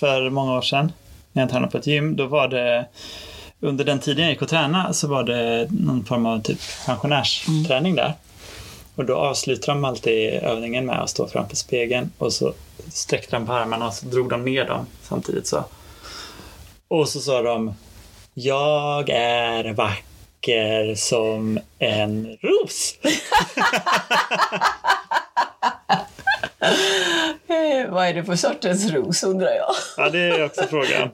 för många år sedan när jag tränade på ett gym, då var det under den tiden jag gick och tränade så var det någon form av typ pensionärsträning där. Och då avslutade de alltid övningen med att stå framför spegeln och så sträckte de på armarna och så drog de ner dem samtidigt så. Och så sa de Jag är vacker som en ros. Eh, Vad är det för sortens ros undrar jag? Ja, det är också frågan.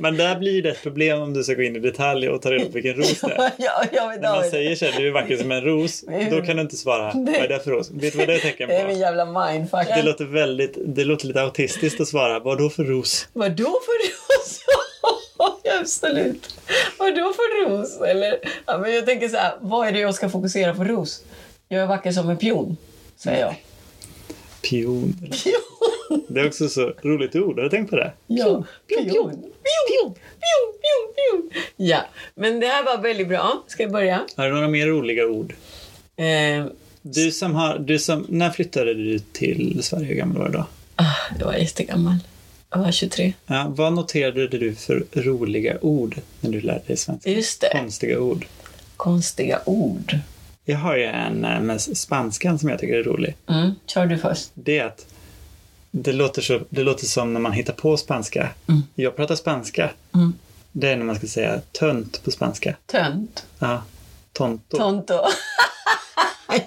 Men där blir det ett problem om du ska gå in i detalj och ta reda på vilken ros det är. jag, jag vill När ha man en- säger så här, du är vacker som en ros, då kan du inte svara, vad är det för ros? Vet du vad det är tecken Det är min på? jävla mindfuck. Det låter, väldigt, det låter lite autistiskt att svara, vad då för ros? Vadå för ros? Ja, Absolut. Vadå för ros? Eller, ja, men jag tänker så här, vad är det jag ska fokusera på ros? Jag är vacker som en pion, säger jag. Pion. Det är också så roligt ord, har du tänkt på det? Ja, pion, pion, pion, pion, pion, pion. Ja, men det här var väldigt bra. Ska jag börja? Har du några mer roliga ord? Eh, Du som har, du som, när flyttade du till Sverige? Hur gammal var du då? ah, jag var jättegammal. Jag var 23. Ja, vad noterade du för roliga ord när du lärde dig svenska? Just det. Konstiga ord. Konstiga ord. Jag har ju en eh, med spanskan som jag tycker är rolig. Mm, kör du först. Det är att det låter, så, det låter som när man hittar på spanska. Mm. Jag pratar spanska. Mm. Det är när man ska säga tönt på spanska. Tönt. Ja, tonto. Tonto.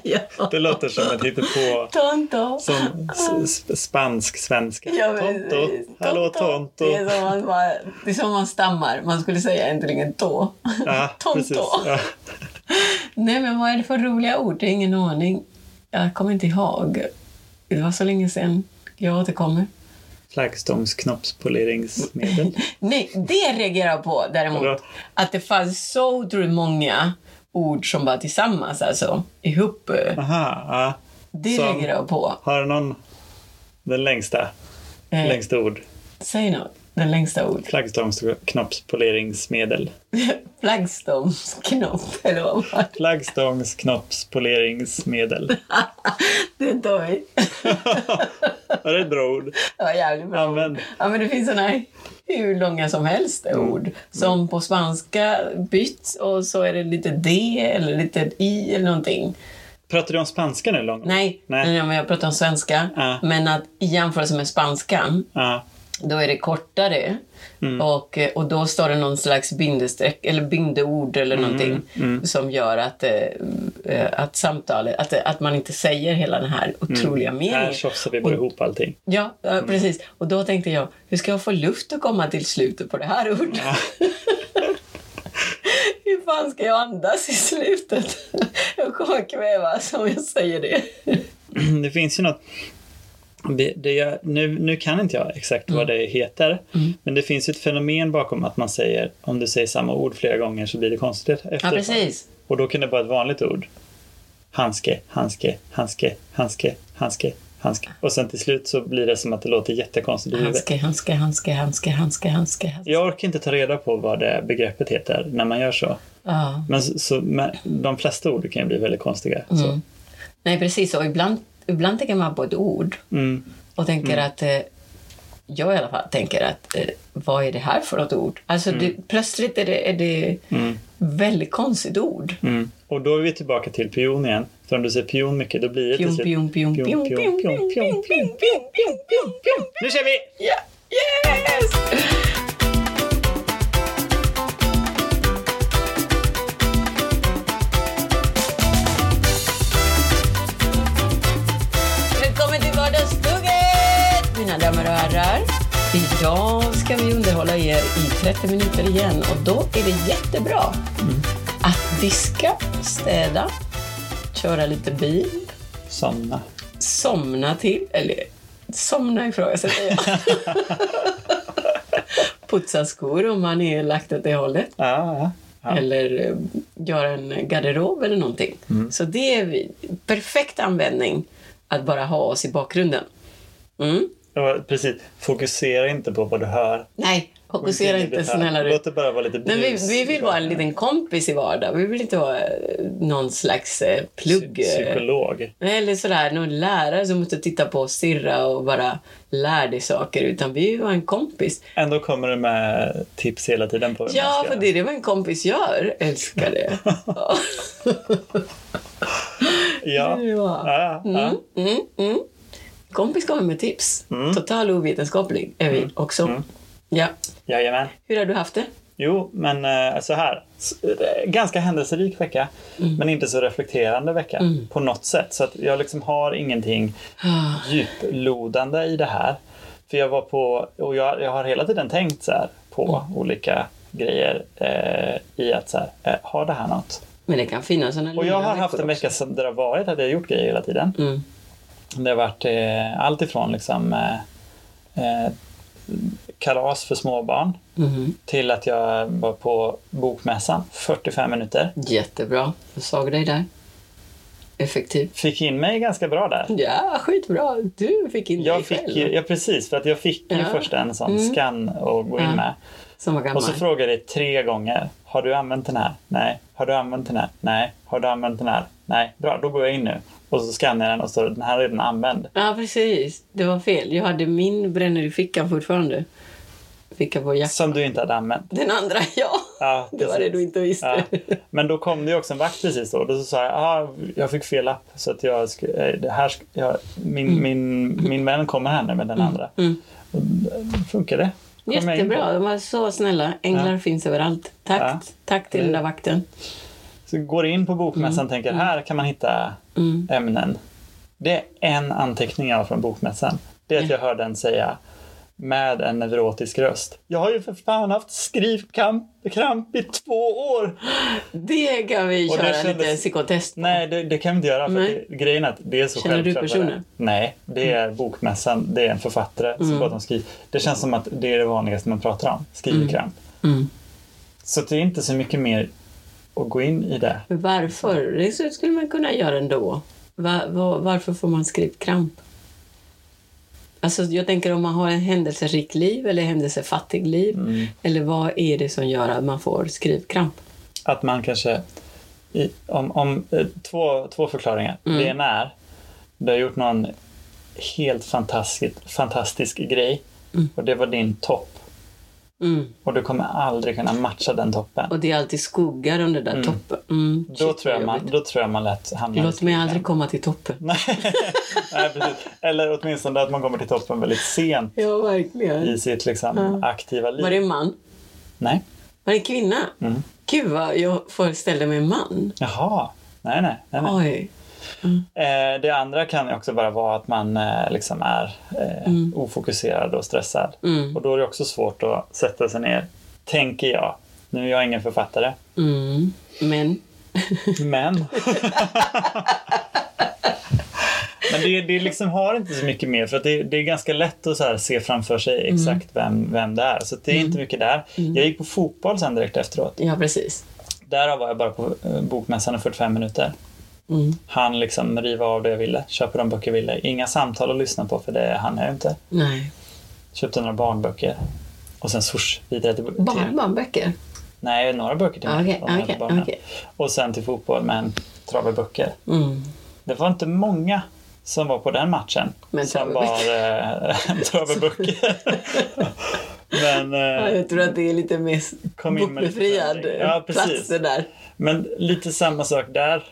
ja. Det låter som att hitta på Tonto. som s- s- spansk-svenska. Ja, precis. tonto. Hallå tonto. Det är, som man bara, det är som man stammar. Man skulle säga äntligen då. Ja, Tonto. Ah, precis. Ja. Nej, men vad är det för roliga ord? Det är ingen aning. Jag kommer inte ihåg. Det var så länge sedan. Jag återkommer. Flaggstångsknoppspoleringsmedel. Nej, det reagerar jag på Vadå? däremot. Att det fanns så otroligt många ord som var tillsammans, alltså ihop. Aha, ja. Det Som- reagerar jag på. Har någon den längsta? Eh, Längsta ord. Säg något. Den längsta ord. Flaggstångsknoppspoleringsmedel. Flaggstångsknopp, eller vad var det? Flaggstångsknoppspoleringsmedel. Det tar vi. Ja, det är ett bra ord. Det var jävligt bra. Använd. Ja, men det finns såna här hur långa som helst Mm. ord som på spanska byts och så är det lite D eller lite I eller någonting. Pratar du om spanska nu, Lång? Nej, Nej. Nej men jag pratar om svenska. Ja. Men att i jämförelse med spanskan, Ja. då är det kortare. Och, eh, och då står det någon slags bindestreck eller bindeord eller någonting som gör att, eh, eh, att samtalet, att, att man inte säger hela den här otroliga meningen. Här tjafsar vi bara ihop allting. Ja, ja, precis. Och då tänkte jag, hur ska jag få luft att komma till slutet på det här ordet? hur fan ska jag andas i slutet? jag kommer kvävas om jag säger det. Det finns ju något... Det, det jag, nu, nu kan inte jag exakt vad Mm. det heter, men det finns ju ett fenomen bakom att man säger, om du säger samma ord flera gånger så blir det konstigt efteråt. Ja, precis. Och då kan det vara ett vanligt ord. Handske, handske, handske, handske, handske, handske. Och sen till slut så blir det som att det låter jättekonstigt i huvudet. Handske, handske, handske, handske, handske, handske. handske. Jag orkar inte ta reda på vad det begreppet heter när man gör så. Ja. Men, så, så, men de flesta ord kan ju bli väldigt konstiga. Mm. Så. Nej, precis. Och ibland, ibland tänker man på ett ord Mm. och tänker att eh, jag i alla fall tänker att eh, vad är det här för något ord? Alltså Mm. det, plötsligt är det, är det väldigt konstigt ord. Mm. Och då är vi tillbaka till pion igen. För om du säger pion mycket då blir det Pion, till pion, slut pion, pion, pion, pion, pion, pion, pion, pion, pion, pion. Nu kör vi! Ja, yes! Välkommen till Vardagsstugget, mina damer och herrar. Idag ska vi underhålla er i 30 minuter igen och då är det jättebra att diska, städa, köra lite bil, Somna. somna till, eller somna ifrågasätter jag. Putsa skor om man är lagt åt det hållet. Ja, ja. ja. Eller eh, göra en garderob eller någonting. Mm. Så det är vi- perfekt användning att bara ha oss i bakgrunden. Mm. Och Precis. Fokusera inte på vad du hör. Nej, Fokusera inte snälla du. Låt det bara vara lite Men vi, brus. vi vill vara en liten kompis i vardag. Vi vill inte vara eh, någon slags eh, plugg. Psy- eh, Psykolog. Eller sådär, någon lärare som inte titta på och stirra och bara lär dig saker. Utan vi var en kompis. Ändå kommer du med tips hela tiden på hur Ja, man ska... för det är det vad en kompis gör. Älskar det. Ja. Ja. Ja. Ja, ja. Mm, mm, mm. Kompis kommer med tips. Mm. Total ovetenskaplig är vi också. Ja. Jajamän. Hur har du haft det? Jo, men eh, så här. S- eh, Ganska händelserik vecka, men inte så reflekterande vecka på något sätt. Så att jag liksom har ingenting Ah. djuplodande i det här. För jag var på, och jag, jag har hela tiden tänkt så här på olika grejer eh, i att så här, eh, har det här något? Men det kan finnas sådana Och jag lilla har haft veckor en också. vecka som där det har varit att jag har gjort grejer hela tiden. Mm. Det har varit eh, allt ifrån liksom, eh, eh, kalas för småbarn Mhm. till att jag var på bokmässan 45 minuter. Jättebra. Jag såg dig där. Effektiv. Fick in mig ganska bra där. Ja, skitbra. Du fick in dig Jag fick själv. ju, ja precis, för att jag fick ju Ja. Mm. först en sån scan att gå in Ja. med. Som var gammal. Och så frågade jag dig tre gånger. Har du använt den här? Nej. Har du använt den här? Nej. Har du använt den här? Nej. Bra, då går jag in nu. Och så skannar jag den och står den här är redan använd. Ja, precis. Det var fel. Jag hade min bränner i fickan fortfarande. Fickan på jackan. Som du inte hade använt. Den andra, ja. Ja, det var det precis. du inte Ja. visste. Men då kom det ju också en vakt precis då. Då så sa jag, ah, jag fick fel lapp. Så att jag, sk- eh, det här, sk- jag, min, min, min vän kommer här nu med den andra. Mm. Och d- funkar det? Kom jag in på. Jättebra. De var så snälla. Änglar finns överallt. Tack, Ja. Tack till den där vakten. Så går in på bokmässan och tänker, här kan man hitta Mm. ämnen. Det är en anteckning jag har från bokmässan. Det är att jag hörde en säga med en neurotisk röst. Jag har ju för fan haft skrivkramp i två år. Det kan vi Och det köra lite kändes- Mm. psykotest på. Nej, det, det kan vi inte göra. För Nej. att det, grejen är att det är så Känner du Mm. självklart vad det är. personen? Nej, det är bokmässan. Det är en författare Mm. som pratar om skriv. Det känns som att det är det vanligaste man pratar om. Skrivkramp. Mm. Så det är inte så mycket mer att gå in i det. Men Varför? Det så- skulle man kunna göra ändå. Va, va, varför får man skrivkramp? Alltså, jag tänker om man har en händelserik liv eller händelsefattig liv. Mm. Eller vad är det som gör att man får skrivkramp? Att man kanske... I, om, om, eh, två, två förklaringar. Mm. Det ena är du har gjort någon helt fantastisk, fantastisk grej och det var din topp. Mm. Och du kommer aldrig kunna matcha den toppen. Och det är alltid skuggar under den där toppen. Mm. Då Shit, tror, jag vad man, jobbigt. då tror jag man lätt hamnar i Låt mig skrivkramp. aldrig komma till toppen. Nej, precis. Eller åtminstone att man kommer till toppen väldigt sent Ja, verkligen. i sitt liksom, aktiva liv. Mm. Var det en man? Nej. Var det en kvinna? Mm. Gud, vad jag föreställde mig en man. Jaha. Nej, nej. nej, nej. Oj. Eh, det andra kan ju också bara vara att man eh, liksom är eh, Mm. ofokuserad och stressad. Och då är det också svårt att sätta sig ner, tänker jag. Nu är jag ingen författare, Mm. Men men... men det, det liksom har inte så mycket mer, för att det, det är ganska lätt att så här se framför Mm. sig exakt vem, vem det är. Så det är inte mycket där. Jag gick på fotboll sen direkt efteråt. Ja, precis. Därav var jag bara på eh, bokmässan i 45 minuter. Mm. Han liksom riva av det jag ville, köpa de böcker jag ville. Inga samtal att lyssna på för det hann jag ju inte. Nej. Köpte några barnböcker. Och sen swoosh, vidare till... till- Bara barnböcker? Nej, några böcker till mig. Ah, Okej, De här okej, barnen. okej. Och sen till fotboll med en trave böcker. Mm. Det var inte många som var på den matchen. Men som trave var eh, en trave böcker. men, Ja, eh, jag tror att det är lite mer Kom in med lite bokbefriad förändring. Ja, precis. plats det där. men lite samma sak där.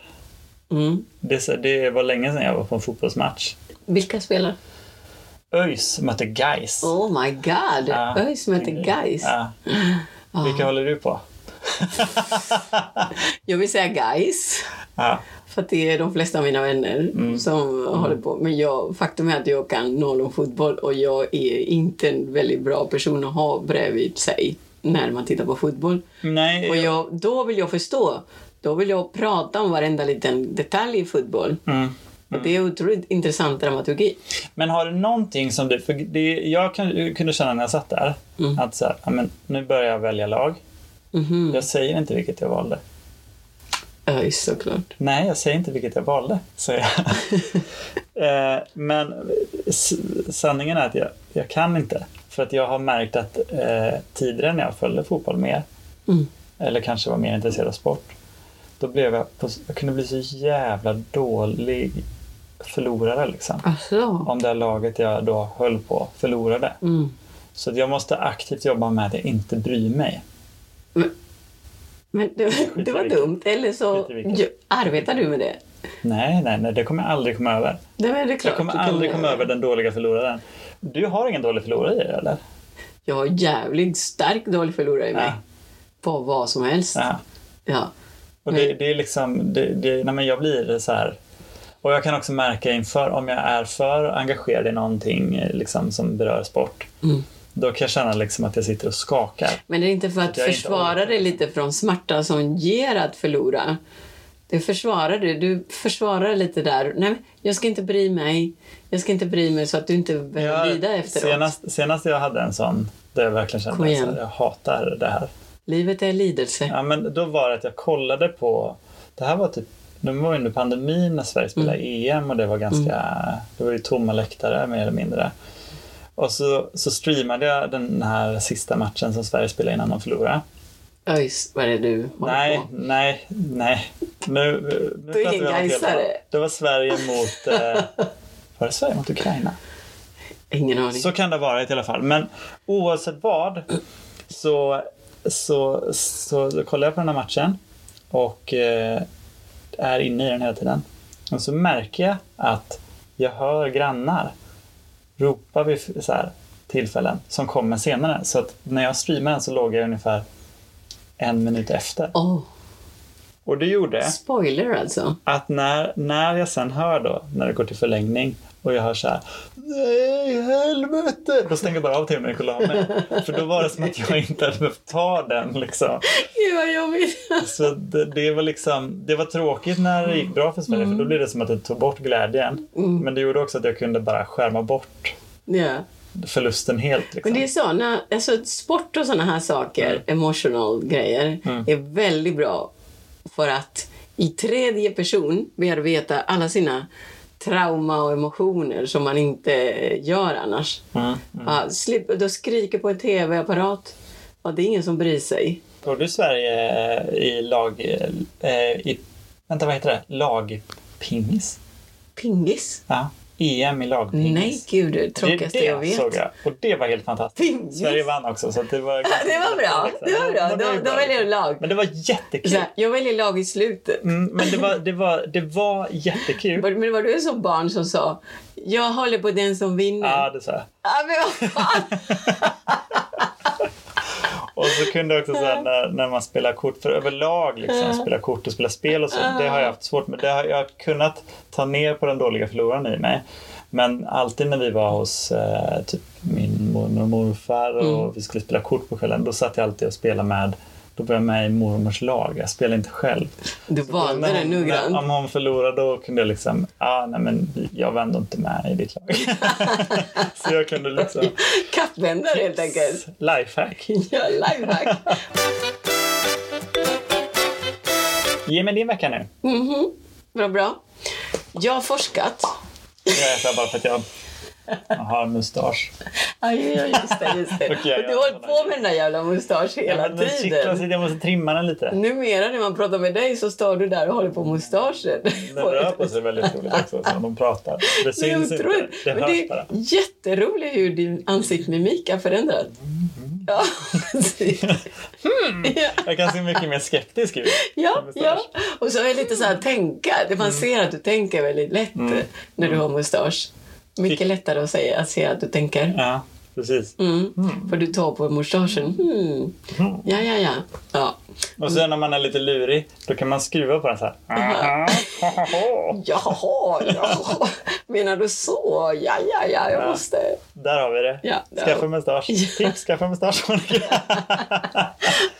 Mm. Det, är så- det var länge sedan jag var på en fotbollsmatch. Vilka spelar? ÖIS mötte Gais. Oh my god! Ja. Mm. ÖIS möter Gais. Ja. Vilka håller du på? Jag vill säga Gais. Ja. För att det är de flesta av mina vänner Mm. som håller på. Men jag, faktum är att jag kan noll om fotboll och jag är inte en väldigt bra person att ha bredvid sig när man tittar på fotboll. Nej, Och jag, då vill jag förstå. Då vill jag prata om varenda liten detalj i fotboll. Mm. Och det är otroligt intressant dramaturgi. men har du någonting som du... För det, jag kan, kunde känna när jag satt där Mm. att så här, ja, men nu börjar jag välja lag. Mhm. Jag säger inte vilket jag valde. ÖIS såklart. Nej, jag säger inte vilket jag valde, säger jag. Eh, men s- sanningen är att jag, jag kan inte. För att jag har märkt att eh, tidigare när jag följde fotboll mer, Mm. eller kanske var mer intresserad av sport, då blev jag, på, jag kunde bli så jävla dålig förlorare liksom. Alltså. Om det här laget jag då höll på förlorade. Mm. Så att jag måste aktivt jobba med att jag inte bryr mig. Men det, det var vilket. dumt. Eller så Skit i vilket. arbetar du med det. Nej, nej, nej, det kommer jag aldrig komma över. Nej, men det är klart. Jag kommer du kan- aldrig komma över den dåliga förloraren. Du har ingen dålig förlorare i dig, eller? Jag har jävligt stark dålig förlorare i mig. Ja. På vad som helst. Ja. Ja. Och det, det är liksom, det, det, nej men jag blir så här. Och jag kan också märka inför, om jag är för engagerad i någonting eh, liksom, som berör sport, Mm. då kan jag känna liksom att jag sitter och skakar. Men det är inte för att Jag är inte försvara orkar. dig lite från smärta som ger att förlora. Du försvarar det. Du försvarar lite där. Nej, men jag ska inte bry mig. Jag ska inte bry mig så att du inte behöver lida efteråt. senast, senast jag hade en sån, där jag verkligen kände Kom att igen. jag hatar det här. Livet är lidelse. Ja, men då var det att jag kollade på, det här var typ, det var ju under pandemin när Sverige spelade Mm. EM och det var ganska, det var ju tomma läktare mer eller mindre. Och så, så streamade jag den här sista matchen som Sverige spelade innan de förlorade. Öjs, vad är det du håller Nej, på? nej, nej. Nu, nu Du är pratar ingen vi om något helt gaisare. annat. Det var Sverige mot, eh, var det Sverige mot Ukraina? Ingen aning. Så kan det ha varit i alla fall. Men oavsett vad så, så, så, kollar jag på den här matchen och eh, är inne i den hela tiden. Och så märker jag att jag hör grannar ropa vid f- så här, tillfällen som kommer senare. Så att när jag streamade den så låg jag ungefär en minut efter. Åh, Och det gjorde spoiler alltså. att när, när jag sen hör då, när det går till förlängning och jag hör så här Nej, helvete! Då stänger jag bara av tvn och kollar av mig. För då var det som att jag inte hade behövt ta den liksom. Gud vad jobbigt. Så det, det var liksom, det var tråkigt när det gick bra för Sverige Mm. för då blev det som att det tog bort glädjen. Men det gjorde också att jag kunde bara skärma bort Ja. förlusten helt. Liksom. Men det är såna, alltså sport och såna här saker, Mm. emotional grejer, är väldigt bra för att i tredje person bearbeta alla sina trauma och emotioner som man inte gör annars. Mm. Ja, slip, då skriker på en tv-apparat. Ja, det är ingen som bryr sig. Tror du Sverige eh, i lag... Eh, i, vänta, vad heter det? Lagpingis? Pingis? Ja. EM i lagpingis. Nej, gud, det är det tråkigaste det, det jag vet. såg jag. Och det var helt fantastiskt. Pingis. Sverige vann också, så det var... Det var bra. Liksom. Det var Ja, bra. men det Då, ju då väljer du lag. Men det var jättekul. Så här, jag väljer lag i slutet. Mm, men det var, det var, det var jättekul. Var- Men var du som barn som sa jag håller på den som vinner? Ja, det sa jag. Ah, men vad fan! Och så kunde jag också så här, när, när man spelar kort, för överlag liksom, spela kort och spela spel och så, det har jag haft svårt med. Det har jag kunnat ta ner på den dåliga förloraren i mig. Men alltid när vi var hos eh, typ min mormor och morfar och Mm. vi skulle spela kort på kvällen, då satt jag alltid och spelade med, då var jag med i mormors lag, jag spelade inte själv. Du valde den noggrant. Om hon förlorade då kunde jag liksom, ah, nej men jag var ändå inte med i ditt lag. så jag kunde liksom, Kappvändare helt enkelt. lifehack. Ja, lifehack. Ge mig din vecka nu. Mhm. Bra, bra. Jag har forskat. Det gör jag så här bara för att jag jag har en mustasch. Aj, aj, aj, just det, just Okej, det. Och du ja, har hållit på med den där jävla mustaschen hela Ja, men den kittlar tiden. sig, jag måste trimma den lite. Numera när man pratar med dig så står du där och håller på mustaschen. Den rör på sig väldigt roligt också så när de pratar. Det Det är syns inte, otroligt. det Men det hörs bara. är jätteroligt hur din ansiktsmimik har förändrats. Ja, precis. Ja. Jag kan se mycket mer skeptisk ut. Ja, med mustasch. ja. Och så är det lite så här tänka. Det man ser att du tänker väldigt lätt eh, när du har mustasch. Mycket lättare att säga att se att du tänker. Ja, precis. Mm. För du tar på mustaschen. Mm. Ja, ja, ja. ja. Och sen när man är lite lurig, då kan man skruva på den så här. Jaha, jaha. Menar du så? Ja, ja, ja. Jag måste. Där har vi det. Ja, där har skaffa vi- mustasch. Tips, skaffa mustasch Monica.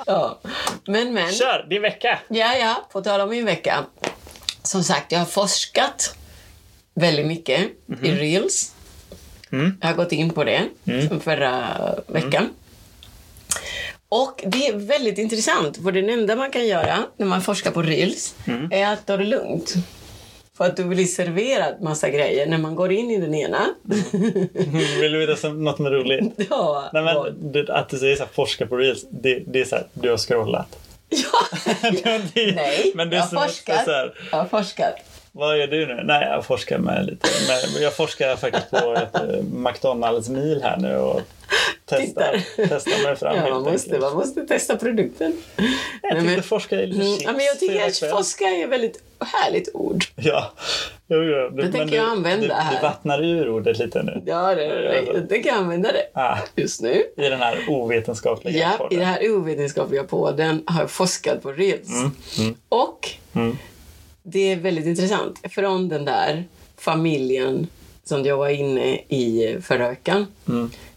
Ja. Men, men. Kör, din vecka. Ja, ja, på tal om min vecka. Som sagt, jag har forskat väldigt mycket i reels. Mhm. Mm. Jag har gått in på det förra veckan. Och det är väldigt Mm. intressant, för det enda man kan göra när man forskar på reels är att ta det lugnt. För att du blir serverad massa grejer när man går in i den ena. Vill du veta som- något mer roligt? ja, Mm. Nej, vad- men, det, att du säger så här, forska på reels, det, det är så här, du har scrollat. ja. det, Nej, men det är jag som att- forskar. Så här, Jag har forskat. Vad gör du nu? Nej, jag forskar med lite. Men jag forskar faktiskt på ett eh, McDonalds mil här nu och testar, Tittar. testar mig fram. Ja, helt man, måste, enkelt. man måste testa produkten. Jag Nej, tyckte men- forska är lite Mm, chips ja, men jag tycker hela att kvällen. forska är ett väldigt härligt ord. Ja, jo, jo. Det tänker jag använda du, här. Du vattnar ur ordet lite nu. Ja, det, det, det kan jag använda det Ah, just nu. I den här ovetenskapliga Ja, i podden. den här ovetenskapliga podden har jag forskat på reels. Och Mm. det är väldigt intressant. Från den där familjen som jag var inne i förra veckan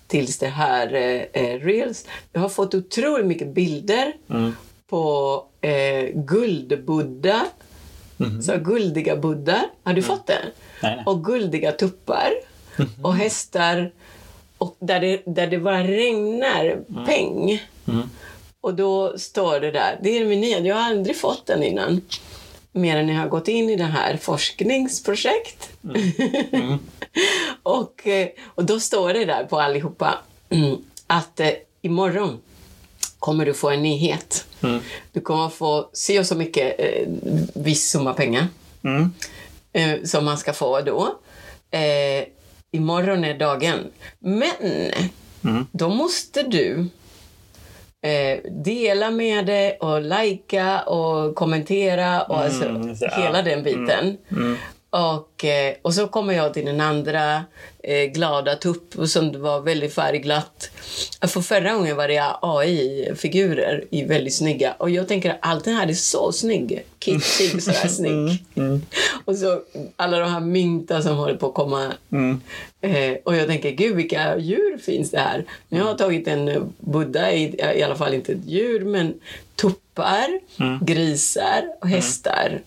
tills det här eh, eh, reels. Jag har fått otroligt mycket bilder på eh, guldbuddar. Så guldiga buddar. Har du fått det? Mm-hmm. Mm. Nej, Mm-hmm. nej. Och guldiga tuppar. Och hästar. Och där det, där det bara regnar Mm. peng. Och då står det där. Det är min nya. Jag har aldrig fått den innan. Mer än när jag har gått in i det här forskningsprojekt. Mm. och, eh, och då står det där på allihopa att eh, imorgon kommer du få en nyhet. Du kommer få se så mycket eh, viss summa pengar Mm. eh, som man ska få då. Eh, imorgon är dagen. Men Mm. då måste du eh, dela med det och lajka och kommentera och Mm, alltså, ja. hela den biten. Mm. Och, eh, och så kommer jag till den andra eh, glada tupp som var väldigt färgglatt. För förra gången var det AI-figurer i väldigt snygga. Och jag tänker att allt det här är så snygg. Kitschig, sådär Mm, snygg. Och så alla de här mynta som håller på att komma. Mm. Eh, och jag tänker, gud vilka djur finns det här? Nu har jag tagit en eh, buddha, i, i alla fall inte ett djur, men tuppar, grisar och hästar.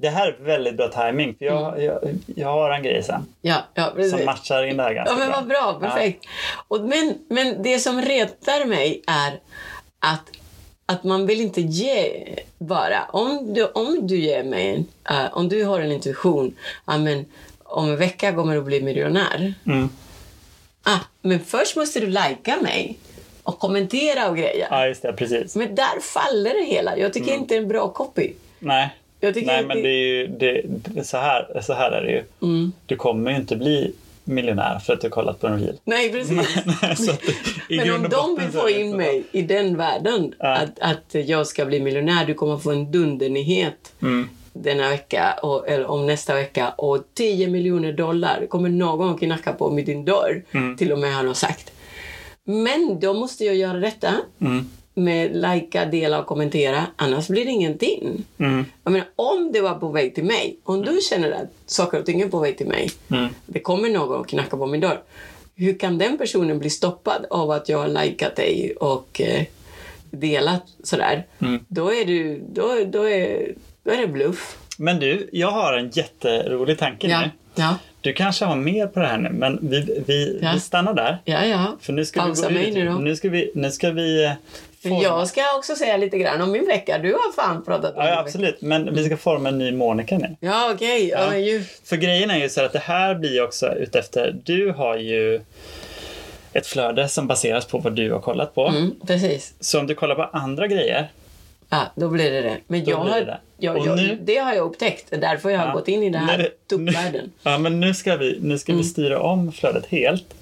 Det här är väldigt bra timing för jag, Mm. jag, jag har en grej sen Ja, ja, som precis. matchar in det här ganska Ja, men bra. vad bra. Perfekt. Och, men, men det som retar mig är att, att man vill inte ge bara. Om du, om du ger mig en, eh, om du har en intuition, ja, men, om en vecka kommer du bli miljonär. Ja. Mm. Ah, men först måste du likea mig och kommentera och grejer. ja, just det. Precis. Men där faller det hela. Jag Mm. tycker inte det är en bra copy. Nej, Jag tycker Nej att men det- Mm. det är ju, det, det, så, här, så här är det ju. Du kommer ju inte bli miljonär för att du har kollat på en reel. Nej, precis. Så att i Men grund om och de botten vill så är få det in så. Ah. mig i den världen, att, att jag ska bli miljonär, du kommer få en dundernyhet denna vecka, och, eller om nästa vecka, och 10 miljoner dollar kommer någon knacka på med din dörr, Mm. till och med har de sagt. Men då måste jag göra detta Mm. med likea, dela och kommentera, annars blir det ingenting. Mm. Jag menar, om det var på väg till mig, om du känner att saker och ting är på väg till mig, Mm. det kommer någon och knackar på min dörr. Hur kan den personen bli stoppad av att jag har likat dig och eh, delat sådär? Mm. Då, är du, då, då, är, då är det bluff. Men du, jag har en jätterolig tanke Ja, nu. ja, Du kanske har mer på det här nu, men vi, vi, Ja. vi stannar där. ja. ja. För nu ska Pausa vi gå mig ut. nu då. Nu ska vi... Nu ska vi eh, För forma- jag ska också säga lite grann om min vecka. Du har fan pratat om Ja, ja, din vecka. absolut. Men vi ska forma en ny Monica nu. Ja, okej. Ja, Ja. men ju. För grejen är ju så här att det här blir ju också utefter... Du har ju ett flöde som baseras på vad du har kollat på. Mm, precis. Så om du kollar på andra grejer, Ja, då blir det det. Men Då jag blir det har, det. Jag, Och jag, nu- det har jag upptäckt. Det är därför jag har Ja. gått in i den här Mm. Nu- tuppvärlden. Ja, men nu ska, vi, nu ska vi styra om flödet helt.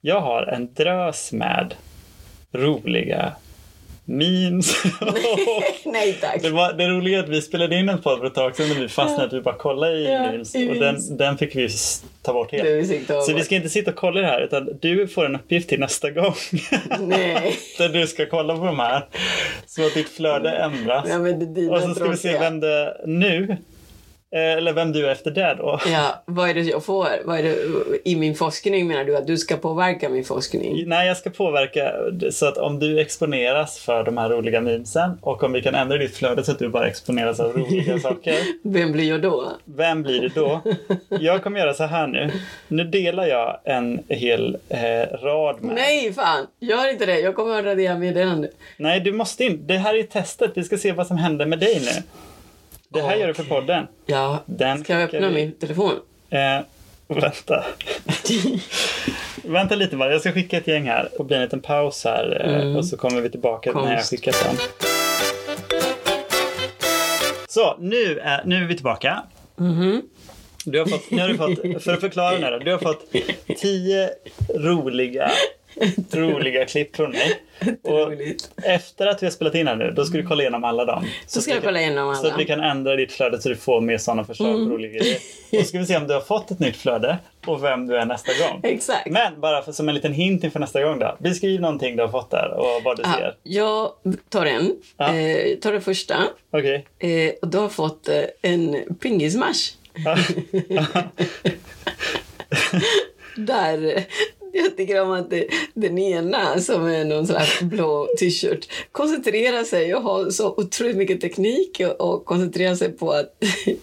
Jag har en drös med roliga memes. Nej tack. det, var, det roliga är att vi spelade in en podd för ett tag sedan när vi fastnade att vi bara kollade i Ja, memes i och memes. den, den fick vi s- ta bort Det är helt. sikt av- Så vi ska inte sitta och kolla det här utan du får en uppgift till nästa gång. Nej. Där du ska kolla på de här. Så att ditt flöde ändras. Nej, men det är dina Och så ska vi se tråkiga. vem det nu, eh, eller vem du är efter det då. Ja, vad är det jag får? Vad är det, I min forskning menar du att du ska påverka min forskning? Nej, jag ska påverka så att om du exponeras för de här roliga memesen och om vi kan ändra ditt flöde så att du bara exponeras av roliga saker. Vem blir jag då? Vem blir det då? Jag kommer göra så här nu. Nu delar jag en hel eh, rad med. Nej, fan! Gör inte det. Jag kommer att radera meddelandet. Nej, du måste inte. Det här är testet. Vi ska se vad som händer med dig nu. Det här gör du för podden. Ja, Den ska jag öppna skickar vi. min telefon? Eh, vänta. vänta lite bara, jag ska skicka ett gäng här. Det blir en liten paus här eh, Mm. och så kommer vi tillbaka när jag Konst. skickat den. Så, nu är, nu är vi tillbaka. Mhm. Du har fått, nu har du fått, för att förklara det här, då, du har fått tio roliga, roliga klipp från mig. Och Roligt. efter att vi har spelat in här nu, då ska du kolla igenom alla dem. Så ska att jag vi kan- kolla igenom Så att alla. Mm. vi kan ändra ditt flöde så du får mer sådana förslag på roliga grejer. Och så ska vi se om du har fått ett nytt flöde och vem du är nästa gång. Exakt. Men bara för, som en liten hint inför nästa gång då. Beskriv någonting du har fått där och vad du Ja, ser. jag tar en. Ja. Eh, tar den första. Okej. Eh, och då har jag fått eh, en pingismatch. Ja. Där eh, jag tycker om att det, den ena som är någon sån här blå t-shirt koncentrerar sig och har så otroligt mycket teknik och, och koncentrerar sig på att,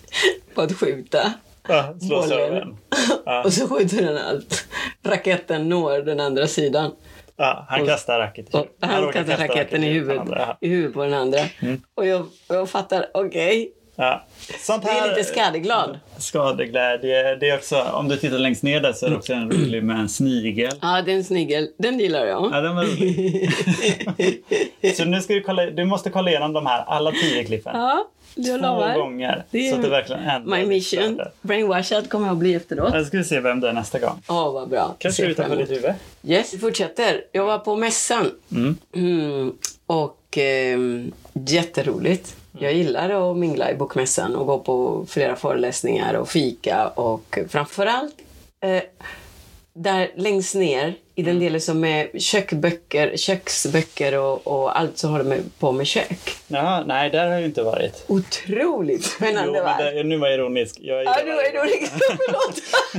på att skjuta. Ja, slå bollen. serven. Ja. Och så skjuter den allt. Raketten når den andra sidan. Ja, han kastar racket. Och han Mm. råkar kastar kasta raketten i racket huvudet, andra. Ja. Mm. i huvudet på den andra. Och jag, jag fattar, okej, Ja. Sånt det här... är lite skadeglad. Skadeglädje. Det är också, om du tittar längst ner där så är det också en rolig med en snigel. Ja, det är en snigel. Den gillar jag. Ja, den var rolig. så nu ska du kolla, du måste kolla igenom de här, alla tio klippen. Ja, jag Två lovar. gånger. Det är så att det verkligen ändrar My ditt mission, flöde. brainwashed kommer jag att bli efteråt. Jag ska se vem det är nästa gång. Åh, vad bra. Kanske Ser utanför fram emot. ditt huvud. Yes, vi fortsätter. Jag var på mässan. Mm. Mm, och ehm, jätteroligt. Mm. Jag gillar att mingla i bokmässan och gå på flera föreläsningar och fika och framförallt eh, där längst ner i den Mm. delen som är kökböcker, köksböcker och, och allt som håller med, på med kök. Jaha, nej, där har jag ju inte varit. Otroligt Jo, spännande men värld. det, nu var jag ironisk. Jag Ja, gillar, du är nog liksom, förlåt.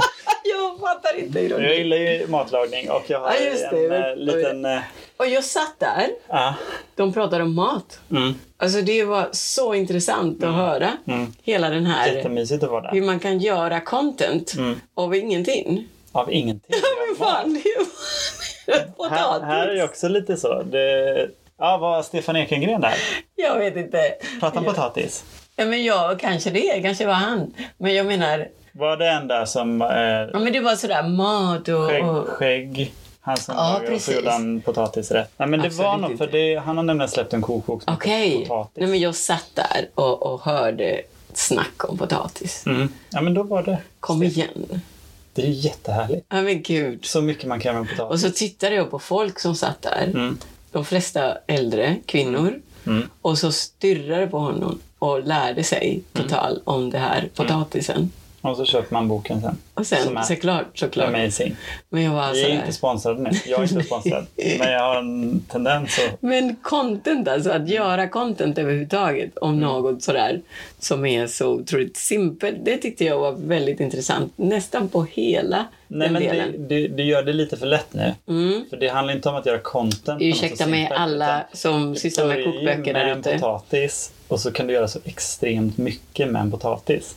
jag fattar inte jag ironi. gillar ju matlagning och jag har Ja, just det. en eh, Oj, oj. liten... eh, Och jag satt där, Ja. de pratade om mat. mm. Alltså det var så intressant att höra Mm. hela den här Jättemysigt att vara där. hur man kan göra content Mm. av ingenting. Av ingenting. Men fan, det var Här, potatis. här är ju också lite så. Det, ja, var Stefan Ekengren där? Jag vet inte. Pratar han Ja. potatis? Ja, men jag kanske det, kanske var han. Men jag menar, Var det en där som... ja, Eh, men det var sådär mat och... skägg, och skägg. Han som Ja, lagade och så precis. gjorde han potatisrätt. Nej, men det Absolut var någon, inte. för det, han har nämligen släppt en kokbok som heter Okej. potatis. Nej, men jag satt där och, och hörde snack om potatis. Mm. Ja, men då var det. Kom igen. Det är ju jättehärligt. Ja, men gud. Så mycket man kan göra med Och potatis. så tittade jag på folk som satt där. Mm. De flesta äldre kvinnor. Mm. Och så stirrade på honom och lärde sig total om det här potatisen. Och så köper man boken sen. Och Mm. Som är- sen såklart, såklart. Amazing. Men jag var Vi är inte sådär. sponsrade nu. Jag är inte sponsrad. men jag har en tendens att... Men content alltså, att göra content överhuvudtaget Mm. om något sådär som är så otroligt simpelt. Det tyckte jag var väldigt intressant. Nästan på hela Nej, den men delen. du, du, du gör det lite för lätt nu. Mm. För det handlar inte om att göra content. på något Ursäkta så mig simpelt, alla utan som du sysslar med börjar ju kokböcker med där en ute. potatis och så kan du göra så extremt mycket med en potatis.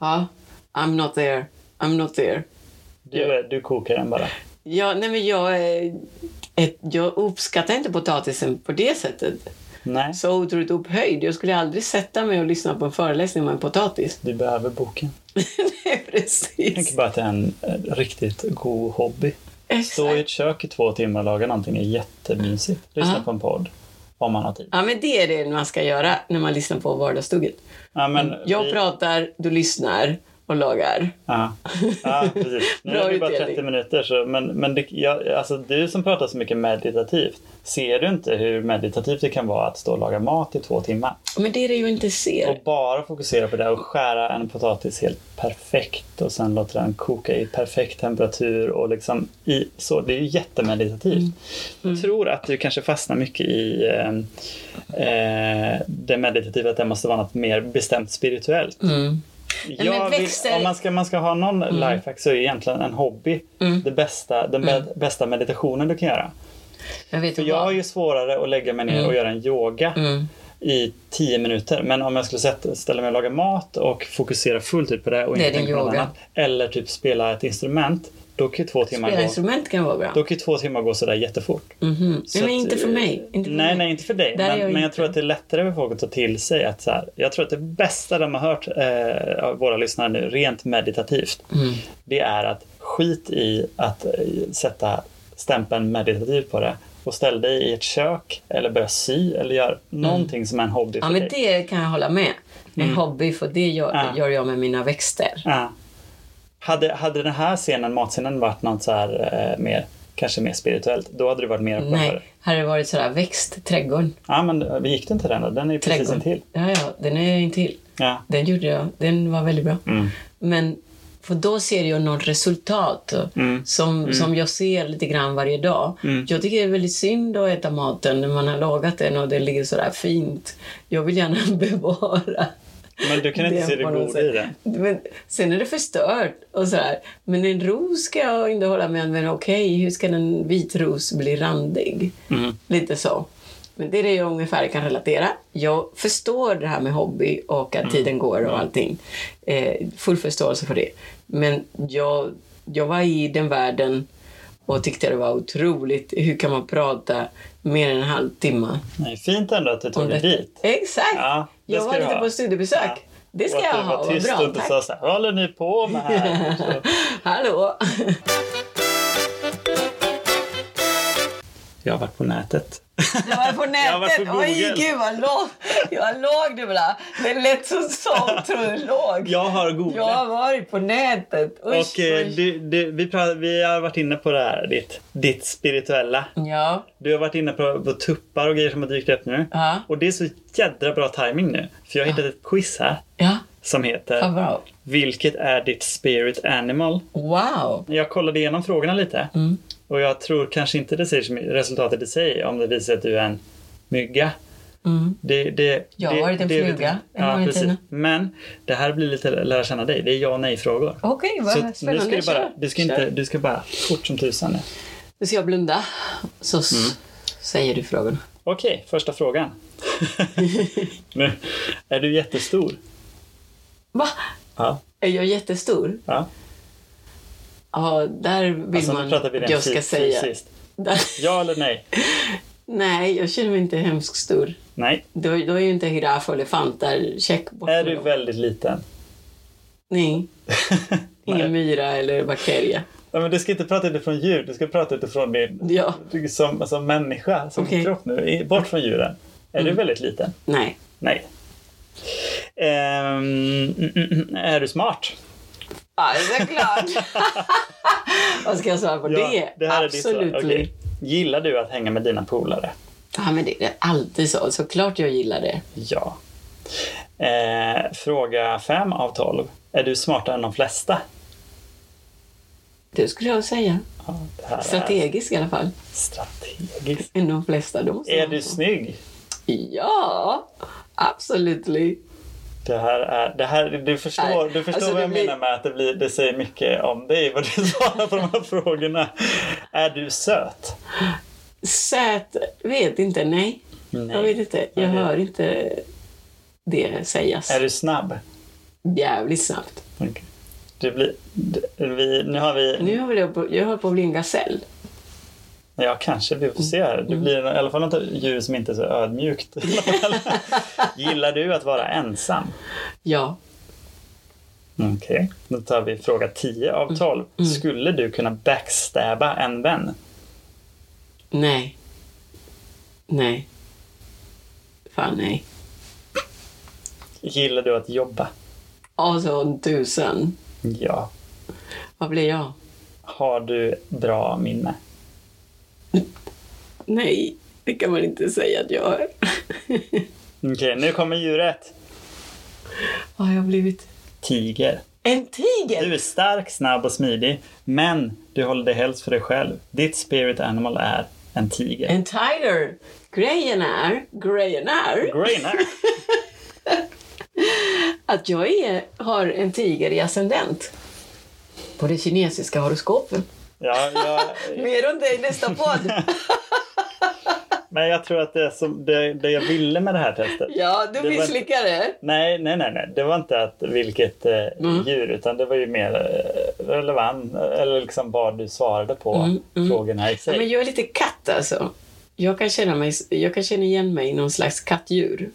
Ja, I'm not there. I'm not there. Du, du kokar den bara. Ja, nej men jag, är ett, jag uppskattar inte potatisen på det sättet. Nej, Så otroligt upphöjd. Jag skulle aldrig sätta mig och lyssna på en föreläsning om en potatis. du behöver boken. nej, Jag tänker precis. bara att det är en eh, riktigt god hobby. Stå i Exakt. ett kök i två timmar och laga någonting är jättemysigt. Lyssna Ja. på en podd. Om man har tid. Ja, men det är det man ska göra när man lyssnar på Vardagstugget. Ja, men Jag vi- pratar, du lyssnar och lagar. Ja, ja precis. Nu Bra är det bara utdelning. 30 minuter. Så, men men det, jag, alltså, du som pratar så mycket meditativt, ser du inte hur meditativt det kan vara att stå och laga mat i två timmar? Men det är det ju inte Och ser. bara fokusera på det och skära en potatis helt perfekt och sen låta den koka i perfekt temperatur och liksom i så. Det är ju jättemeditativt. Mm. Jag tror att du kanske fastnar mycket i eh, eh, det meditativa, att det måste vara något mer bestämt spirituellt. Mm. men Mm. Jag vill, växter- om man ska, man ska ha någon lifehack så är egentligen en hobby Mm. det bästa, den bä- bästa meditationen du kan göra. Jag vet För vad. jag har ju svårare att lägga mig ner och göra en yoga Mm. i tio minuter. Men om jag skulle sätta, ställa mig och laga mat och fokusera fullt ut på det och Det är inte din tänka på något yoga. annat. Eller typ spela ett instrument. Då kan ju två timmar Spela gå. instrument kan vara bra. Då kan ju två timmar gå sådär jättefort. Mhm. Så nej, men att, inte för eh, mig. Inte för nej, mig. nej, inte för dig. Där är Men jag jag, men jag inte. tror att det är lättare för folk att ta till sig att så här, Jag tror att det bästa de har hört eh, av våra lyssnare nu, rent meditativt, Mm. det är att skit i att eh, sätta stämpeln meditativ på det och ställ dig i ett kök eller börja sy eller gör någonting som är en hobby Mm. Ja, för men dig. det kan jag hålla med. En hobby, för det gör, Mm. Ja. gör jag med mina växter. Ja. Hade, hade den här scenen, matscenen, varit något så här eh, mer, kanske mer spirituellt, då hade det varit mer öppen för det. Nej, hade det varit sådär växt, trädgården. Ja, men eh, vi gick det inte den då? Den är ju precis trädgården. intill. Ja, ja, den är intill. Ja. Den gjorde jag. Den var väldigt bra. Mm. Men för då ser jag något resultat Mm. Som, som jag ser lite grann varje dag. Mm. Jag tycker det är väldigt synd att äta maten när man har lagat den och det ligger sådär fint. Jag vill gärna bevara Men du kan inte se det på något goda sätt. i det. Men sen är det förstört och sådär. Men en ros ska jag inte hålla med om. Men okej, hur ska en vit ros bli randig? Mm. Lite så. Men det är det jag ungefär kan relatera. Jag förstår det här med hobby och att Mm. tiden går och allting. Eh, full förståelse för det. Men jag, jag var i den världen och tyckte det var otroligt. Hur kan man prata mer än en halvtimme? Nej, fint ändå att du tog dig dit. Exakt! Ja, det jag ska var du lite ha. på studiebesök. Ja. Det ska Och att jag du ha. var Vad tyst bra. och inte Tack. sa så här, "Vad håller ni på med här? Så. Hallå! Jag har varit på nätet. Det var på Jag har varit nätet. på Oj, Google. gud vad låg. Jag låg du bara. Det lät som sånt tror jag låg. Jag har googlat. Jag har varit på nätet. Usch, Och eh, usch. du, du, vi, pra- vi har varit inne på det här, ditt, ditt spirituella. Ja, Du har varit inne på, på tuppar och grejer som har dykt upp nu. Ja. Och det är så jädra bra timing nu. För jag har hittat ett quiz här ja, som vad heter bra. Vilket är ditt spirit animal? Wow. Jag kollade igenom frågorna lite. Och jag tror kanske inte det säger så mycket, resultatet i sig om det visar att du är en mygga. Mm. Det, det, Jag har det, varit en det vet fluga jag. en gång Ja, i precis. tiden. Men det här blir lite lära känna dig. Det är ja och nej-frågor. Okej, Så vad att nu ska spännande. du, bara, Kör. du, ska Kör. inte, du ska bara fort som tusan nu. Nu ska jag blunda. Så s- Mm. säger du frågan. Okej, första frågan. nu, är du jättestor? Va? Ja. Är jag jättestor? ja. Ja, där vill Alltså, nu man pratar vi rent jag ska fys- säga. fysiskt. Där. Ja eller nej? Nej, jag känner mig inte hemskt stor. Nej. Då, då är ju inte giraff och elefanter check bort Är med du dem. väldigt liten? Nej, nej. ingen myra eller bakterie. Ja, men du ska inte prata utifrån djur, du ska prata utifrån din Ja, du- som, som människa, som Okej. Mm. kropp nu. I- Bort från djuren. Är du väldigt liten? nej. Nej. Ehm, mm, mm, mm. är du smart? Ja, det är klart. Vad ska jag svara på det? här är ditt svar. Absolut. Okej. Gillar du att hänga med dina polare? Ja, men det är alltid så. Såklart jag gillar det. Ja. Eh, fråga fem av 12. Är du smartare än de flesta? Det skulle jag säga. Ja, det här är Strategisk i alla fall. strategiskt. Än de flesta. Då måste Är man du få. snygg? Ja, absolut. Det här är, det här, du förstår, Nej, du förstår alltså vad det jag blir- menar med att det, blir, det säger mycket om dig vad du svarar på de här frågorna. Är du söt? Söt, vet inte. Nej. Nej. Jag vet inte. Jag Nej, det- hör inte det sägas. Är du snabb? Jävligt snabbt. Okej. Du blir, du- vi, nu har vi... Nu har väl jag, på, jag höll på att bli en gasell. Ja, kanske. Vi får se här. Du blir i alla fall något djur som inte är så ödmjukt. i alla fall. Gillar du att vara ensam? Ja. Okej. Då tar vi fråga 10 Mm. av 12. Skulle du kunna backstabba en vän? Nej. Nej. Fan nej. Gillar du att jobba? Alltså en tusen. Ja. Vad blir jag? Har du bra minne? Nej, det kan man inte säga att jag är. Okej, nu kommer djuret. Vad har jag blivit? Tiger. En tiger! Du är stark, snabb och smidig, men du håller dig helst för dig själv. Ditt spirit animal är en tiger. En tiger! Grejen är, grejen är Greener. att jag är, har en tiger i ascendent. På det kinesiska horoskopet. Ja, jag, Mer om det i nästa podd. Men jag tror att det, som, det, det jag ville med det här testet. Ja, du var- misslyckades. Nej, nej, nej, nej. Det var inte att vilket eh, Mm. djur, utan det var ju mer eh, relevant, eller liksom vad du svarade på Mm, mm. frågorna i Ja, sig. men jag är lite katt alltså. Jag kan, känna mig, jag kan känna igen mig i någon slags kattdjur.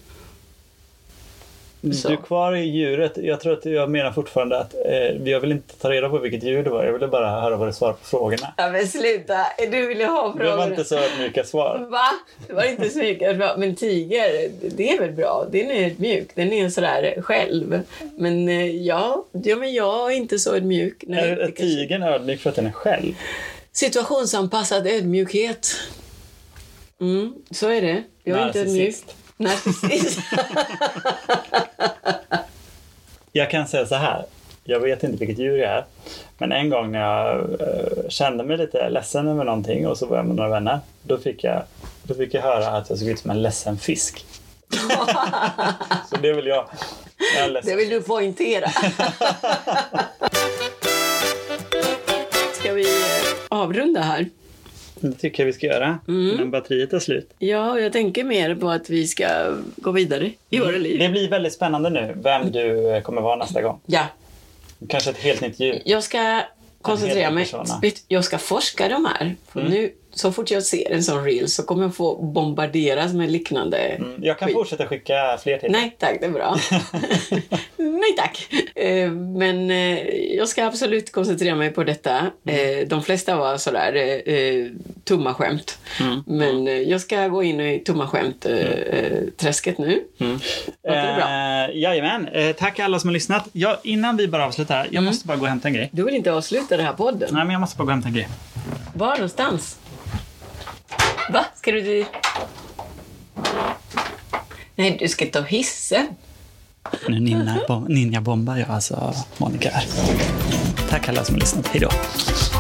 så. Du är kvar i djuret. Jag tror att jag menar fortfarande att eh, jag vill inte ta reda på vilket djur det var. Jag ville bara höra vad du svarade på frågorna. Ja, men sluta. Du ville ha Det var frågor. inte så ödmjuka svar. Va? Det var inte så mycket. bra. Men tiger, det är väl bra? Den är mjuk. Den är sådär själv. Men eh, ja, ja men jag är inte så mjuk. Nej, Är, det är kanske- tigern ödmjuk för att den är själv? Situationsanpassad ödmjukhet. Mm, så är det. Jag är inte ödmjuk. Narcissist. Narcissist. Jag kan säga så här. Jag vet inte vilket djur jag är. Men en gång när jag eh, kände mig lite ledsen över någonting och så var jag med några vänner. Då fick jag, då fick jag höra att jag såg ut som en ledsen fisk. så det vill jag. Jag är Det ledsen. vill du poängtera. Ska vi eh, avrunda här? Det tycker jag vi ska göra. Mm. Innan batteriet är slut. Ja, jag tänker mer på att vi ska gå vidare i våra liv. Det blir väldigt spännande nu vem du eh, kommer vara nästa gång. Ja, Kanske ett helt nytt djur. jag ska koncentrera En hel del mig. persona. Vet- Jag ska forska de här. För Nu, så fort jag ser en sån reel så kommer jag få bombarderas med liknande. Mm, Jag kan fortsätta skicka fler till. Nej tack, det är bra. Nej tack. Eh, Men eh, jag ska absolut koncentrera mig på detta. Mm. Eh, De flesta var sådär eh, eh, tomma skämt. Mm. Men eh, jag ska gå in i tomma skämt-träsket nu. Låter det bra? Mm. Eh, jajamän. Eh, tack alla som har lyssnat. Ja, innan vi bara avslutar, här, jag Mm. måste bara gå och hämta en grej. Du vill inte avsluta den här podden? Nej, men jag måste bara gå och hämta en grej. Var någonstans? Va? Ska du dit? Nej, du ska ta hissen. Nu ninja, bom, ninja bombar jag alltså Monica här. Tack alla som har lyssnat. Hej då.